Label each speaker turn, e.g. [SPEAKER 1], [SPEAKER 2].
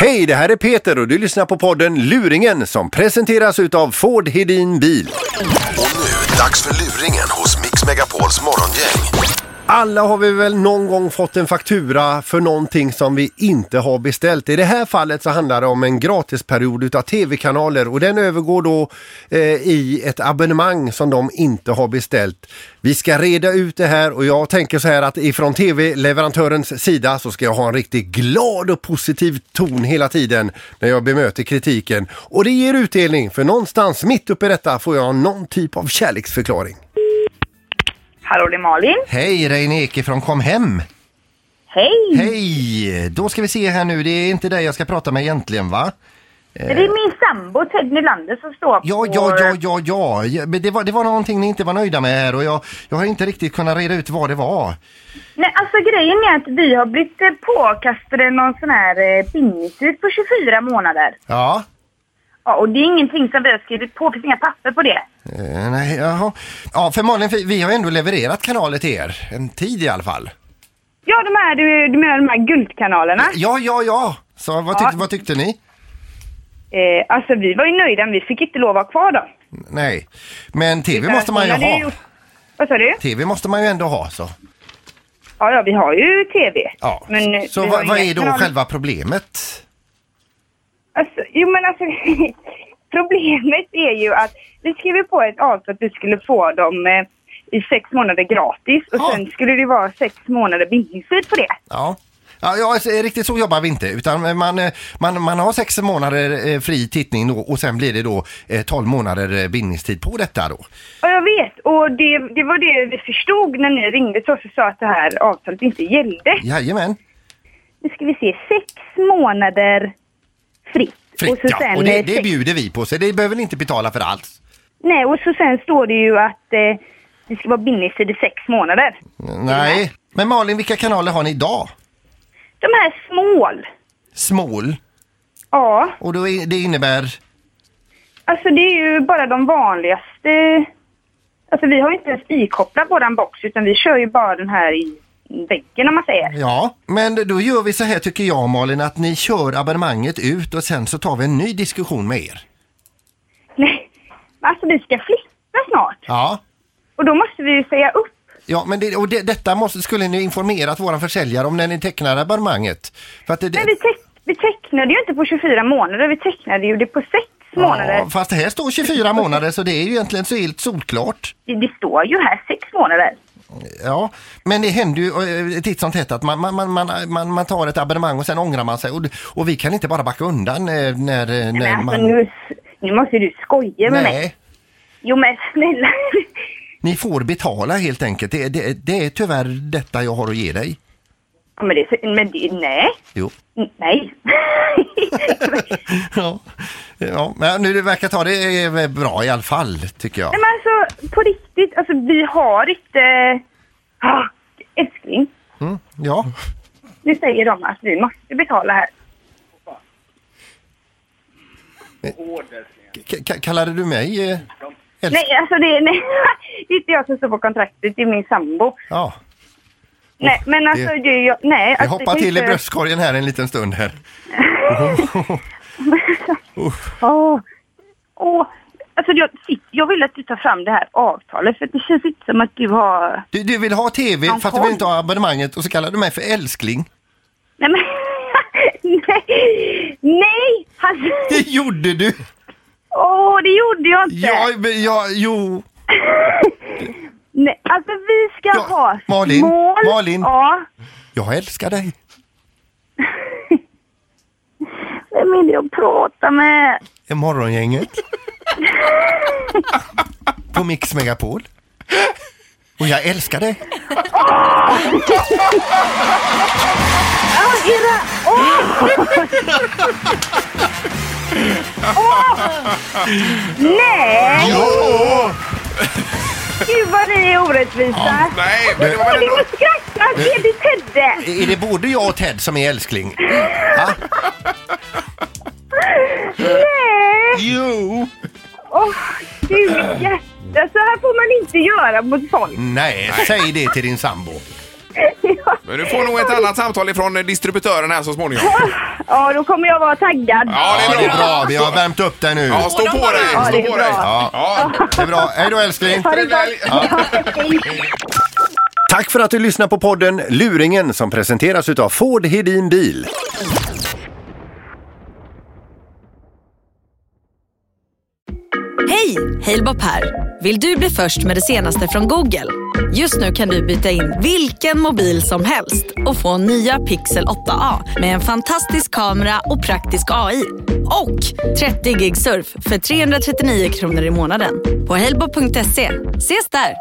[SPEAKER 1] Hej, det här är Peter och du lyssnar på podden Luringen som presenteras utav Ford Hedin Bil.
[SPEAKER 2] Och nu, dags för luringen hos Mix Megapols morgongäng.
[SPEAKER 1] Alla har vi väl någon gång fått en faktura för någonting som vi inte har beställt. I det här fallet så handlar det om en gratisperiod utav tv-kanaler och den övergår då eh, i ett abonnemang som de inte har beställt. Vi ska reda ut det här och jag tänker så här att ifrån tv-leverantörens sida så ska jag ha en riktigt glad och positiv ton hela tiden när jag bemöter kritiken. Och det ger utdelning för någonstans mitt uppe i detta får jag någon typ av kärleksförklaring.
[SPEAKER 3] Hallå, det är Malin.
[SPEAKER 1] Hej, Reine Eke från Kom Hem!
[SPEAKER 3] Hej!
[SPEAKER 1] Hej! Då ska vi se här nu, det är inte dig jag ska prata med egentligen va?
[SPEAKER 3] Det är min sambo Ted Nylander som står
[SPEAKER 1] Ja,
[SPEAKER 3] på...
[SPEAKER 1] ja, ja, ja, ja, ja. Men det var, det var någonting ni inte var nöjda med här och jag, jag har inte riktigt kunnat reda ut vad det var.
[SPEAKER 3] Nej, alltså grejen är att vi har blivit eh, påkastade någon sån här eh, bindningstid på 24 månader.
[SPEAKER 1] Ja,
[SPEAKER 3] Ja, och det är ingenting som vi har skrivit på, det finns inga papper på det.
[SPEAKER 1] eh, nej, jaha. Ja, för Malin, vi- vi har ändå levererat kanaler till er. En tid i alla fall.
[SPEAKER 3] Ja, de här, du, du menar de här guldkanalerna?
[SPEAKER 1] Ja, ja, ja. Så vad, tyck,
[SPEAKER 3] Ja.
[SPEAKER 1] vad tyckte ni?
[SPEAKER 3] Eh, alltså vi var ju nöjda, men vi fick inte lov att vara kvar dem.
[SPEAKER 1] Nej, men tv måste man ju
[SPEAKER 3] Hon hade
[SPEAKER 1] ha.
[SPEAKER 3] gjort- Vad sa du?
[SPEAKER 1] Tv måste man ju ändå ha så.
[SPEAKER 3] Ja, ja, vi har ju tv.
[SPEAKER 1] Ja.
[SPEAKER 3] eh,
[SPEAKER 1] så
[SPEAKER 3] vi
[SPEAKER 1] vad,
[SPEAKER 3] har
[SPEAKER 1] vad
[SPEAKER 3] inga
[SPEAKER 1] är då
[SPEAKER 3] kanaler.
[SPEAKER 1] själva problemet?
[SPEAKER 3] Alltså, jo men alltså problemet är ju att vi skrev på ett avtal att vi skulle få dem eh, i sex månader gratis och
[SPEAKER 1] Ja.
[SPEAKER 3] sen skulle det vara sex månader bindningstid på det.
[SPEAKER 1] Ja. Ja, ja, alltså, riktigt så jobbar vi inte utan man, eh, man, man har sex månader eh, fri tittning då, och sen blir det då eh, 12 månader eh, bindningstid på detta då.
[SPEAKER 3] Ja jag vet och det, det var det vi förstod när ni ringde till oss och sa att det här avtalet inte gällde.
[SPEAKER 1] Jajamän.
[SPEAKER 3] Nu ska vi se, sex månader fritt.
[SPEAKER 1] Fritt
[SPEAKER 3] och så
[SPEAKER 1] ja,
[SPEAKER 3] sen,
[SPEAKER 1] och det,
[SPEAKER 3] eh,
[SPEAKER 1] det
[SPEAKER 3] sex-
[SPEAKER 1] bjuder vi på så det behöver ni inte betala för alls.
[SPEAKER 3] Nej och så sen står det ju att eh, det ska vara bindningstid i sex månader.
[SPEAKER 1] Nej. Men Malin, vilka kanaler har ni idag?
[SPEAKER 3] De här small,
[SPEAKER 1] Small.
[SPEAKER 3] ja
[SPEAKER 1] Och då är, det innebär...
[SPEAKER 3] Alltså det är ju bara de vanligaste. Alltså vi har ju inte ens ikopplat våran box utan vi kör ju bara den här i väggen om man säger.
[SPEAKER 1] Ja, men då gör vi så här tycker jag Malin att ni kör abonnemanget ut och sen så tar vi en ny diskussion med er.
[SPEAKER 3] Nej, men alltså vi ska flytta snart
[SPEAKER 1] Ja.
[SPEAKER 3] och då måste vi ju säga upp.
[SPEAKER 1] Ja, men det, och det, detta måste, skulle ni informerat våran försäljare om när ni tecknar abonnemanget. För att det,
[SPEAKER 3] Men vi, teck, vi tecknade ju inte på 24 månader, vi tecknade ju det på sex månader.
[SPEAKER 1] Ja, fast det här står 24 månader så det är ju egentligen så helt solklart.
[SPEAKER 3] Det, det står ju här sex månader.
[SPEAKER 1] Ja, men det händer ju eh, titt som tätt att man, man, man, man, man, man tar ett abonnemang och sen ångrar man sig. Och, och vi kan inte bara backa undan eh, när, eh,
[SPEAKER 3] Men
[SPEAKER 1] när
[SPEAKER 3] alltså
[SPEAKER 1] man...
[SPEAKER 3] nu, nu måste du skoja med mig.
[SPEAKER 1] Nej,
[SPEAKER 3] Jo men snälla.
[SPEAKER 1] ni får betala helt enkelt. Det, det, det är tyvärr detta jag har att ge dig.
[SPEAKER 3] Ja, men det, men det, nej.
[SPEAKER 1] Jo.
[SPEAKER 3] Nej.
[SPEAKER 1] Ja, ja men nu det verkar ta det eh, bra i alla fall tycker jag.
[SPEAKER 3] Nej men alltså på riktigt, alltså vi har inte... Ah, älskling,
[SPEAKER 1] Mm, ja.
[SPEAKER 3] nu säger de att vi måste betala här.
[SPEAKER 1] K- k- kallade du mig eh, älskling?
[SPEAKER 3] Nej alltså det, nej, det är inte jag som står på kontraktet, det är min sambo.
[SPEAKER 1] Ja,
[SPEAKER 3] nej men alltså
[SPEAKER 1] det-
[SPEAKER 3] det, är jag, nej.
[SPEAKER 1] jag
[SPEAKER 3] alltså,
[SPEAKER 1] hoppar
[SPEAKER 3] det
[SPEAKER 1] till i
[SPEAKER 3] inte-
[SPEAKER 1] bröstkorgen här en liten stund här.
[SPEAKER 3] Åh, åh. Alltså jag, sitt, jag vill att du tar fram det här avtalet för att det känns inte som att du har...
[SPEAKER 1] Du, du vill ha tv
[SPEAKER 3] Han
[SPEAKER 1] fast du
[SPEAKER 3] kom.
[SPEAKER 1] vill inte ha abonnemanget och så kallar du mig för älskling.
[SPEAKER 3] Nej men... nej! Nej! Alltså,
[SPEAKER 1] Det gjorde du!
[SPEAKER 3] åh, det gjorde jag inte!
[SPEAKER 1] Ja, men jag, jo.
[SPEAKER 3] Nej, alltså vi ska
[SPEAKER 1] Ja,
[SPEAKER 3] ha
[SPEAKER 1] Malin,
[SPEAKER 3] mål.
[SPEAKER 1] Malin.
[SPEAKER 3] Ja.
[SPEAKER 1] Jag älskar dig.
[SPEAKER 3] Vem är det jag pratar med?
[SPEAKER 1] I morgongänget. På Mix Megapol. Och jag älskar dig.
[SPEAKER 3] Ja, era... Åh! Åh! Nej!
[SPEAKER 1] Jo!
[SPEAKER 3] Gud vad ni är orättvisa.
[SPEAKER 4] Nej, men det var
[SPEAKER 3] Åh,
[SPEAKER 4] väl
[SPEAKER 3] ni
[SPEAKER 4] ändå...
[SPEAKER 3] får skratta! Ge dig Tedde!
[SPEAKER 1] Är det både jag och Ted som är älskling? Ja.
[SPEAKER 3] Nej!
[SPEAKER 1] Jo!
[SPEAKER 3] Åh, Gud, mitt hjärta. Så här får man inte göra mot folk.
[SPEAKER 1] Nej, säg det till din sambo.
[SPEAKER 3] Ja.
[SPEAKER 4] Men du får nog ett annat samtal ifrån eh, distributören här så småningom.
[SPEAKER 3] Ja, då kommer jag vara taggad.
[SPEAKER 4] Ja,
[SPEAKER 5] Ja,
[SPEAKER 4] det är bra.
[SPEAKER 5] Vi har värmt upp dig nu.
[SPEAKER 4] Ja, stå
[SPEAKER 5] Ja,
[SPEAKER 4] på dig.
[SPEAKER 3] Ja, det
[SPEAKER 4] Stå
[SPEAKER 3] är
[SPEAKER 4] på
[SPEAKER 3] bra.
[SPEAKER 4] dig.
[SPEAKER 5] Ja.
[SPEAKER 4] Ja.
[SPEAKER 5] det är bra. Hej då älskling!
[SPEAKER 3] Ha det
[SPEAKER 4] Trevlig helg.
[SPEAKER 3] gott. Ja, hej.
[SPEAKER 1] Tack för att du lyssnar på podden Luringen som presenteras utav Ford Hedin Bil.
[SPEAKER 6] Hej! Halebop här. Vill du bli först med det senaste från Google? Just nu kan du byta in vilken mobil som helst och få nya Pixel 8A med en fantastisk kamera och praktisk AI. Och 30 gig surf för 339 kronor i månaden på halebop.se. Ses där!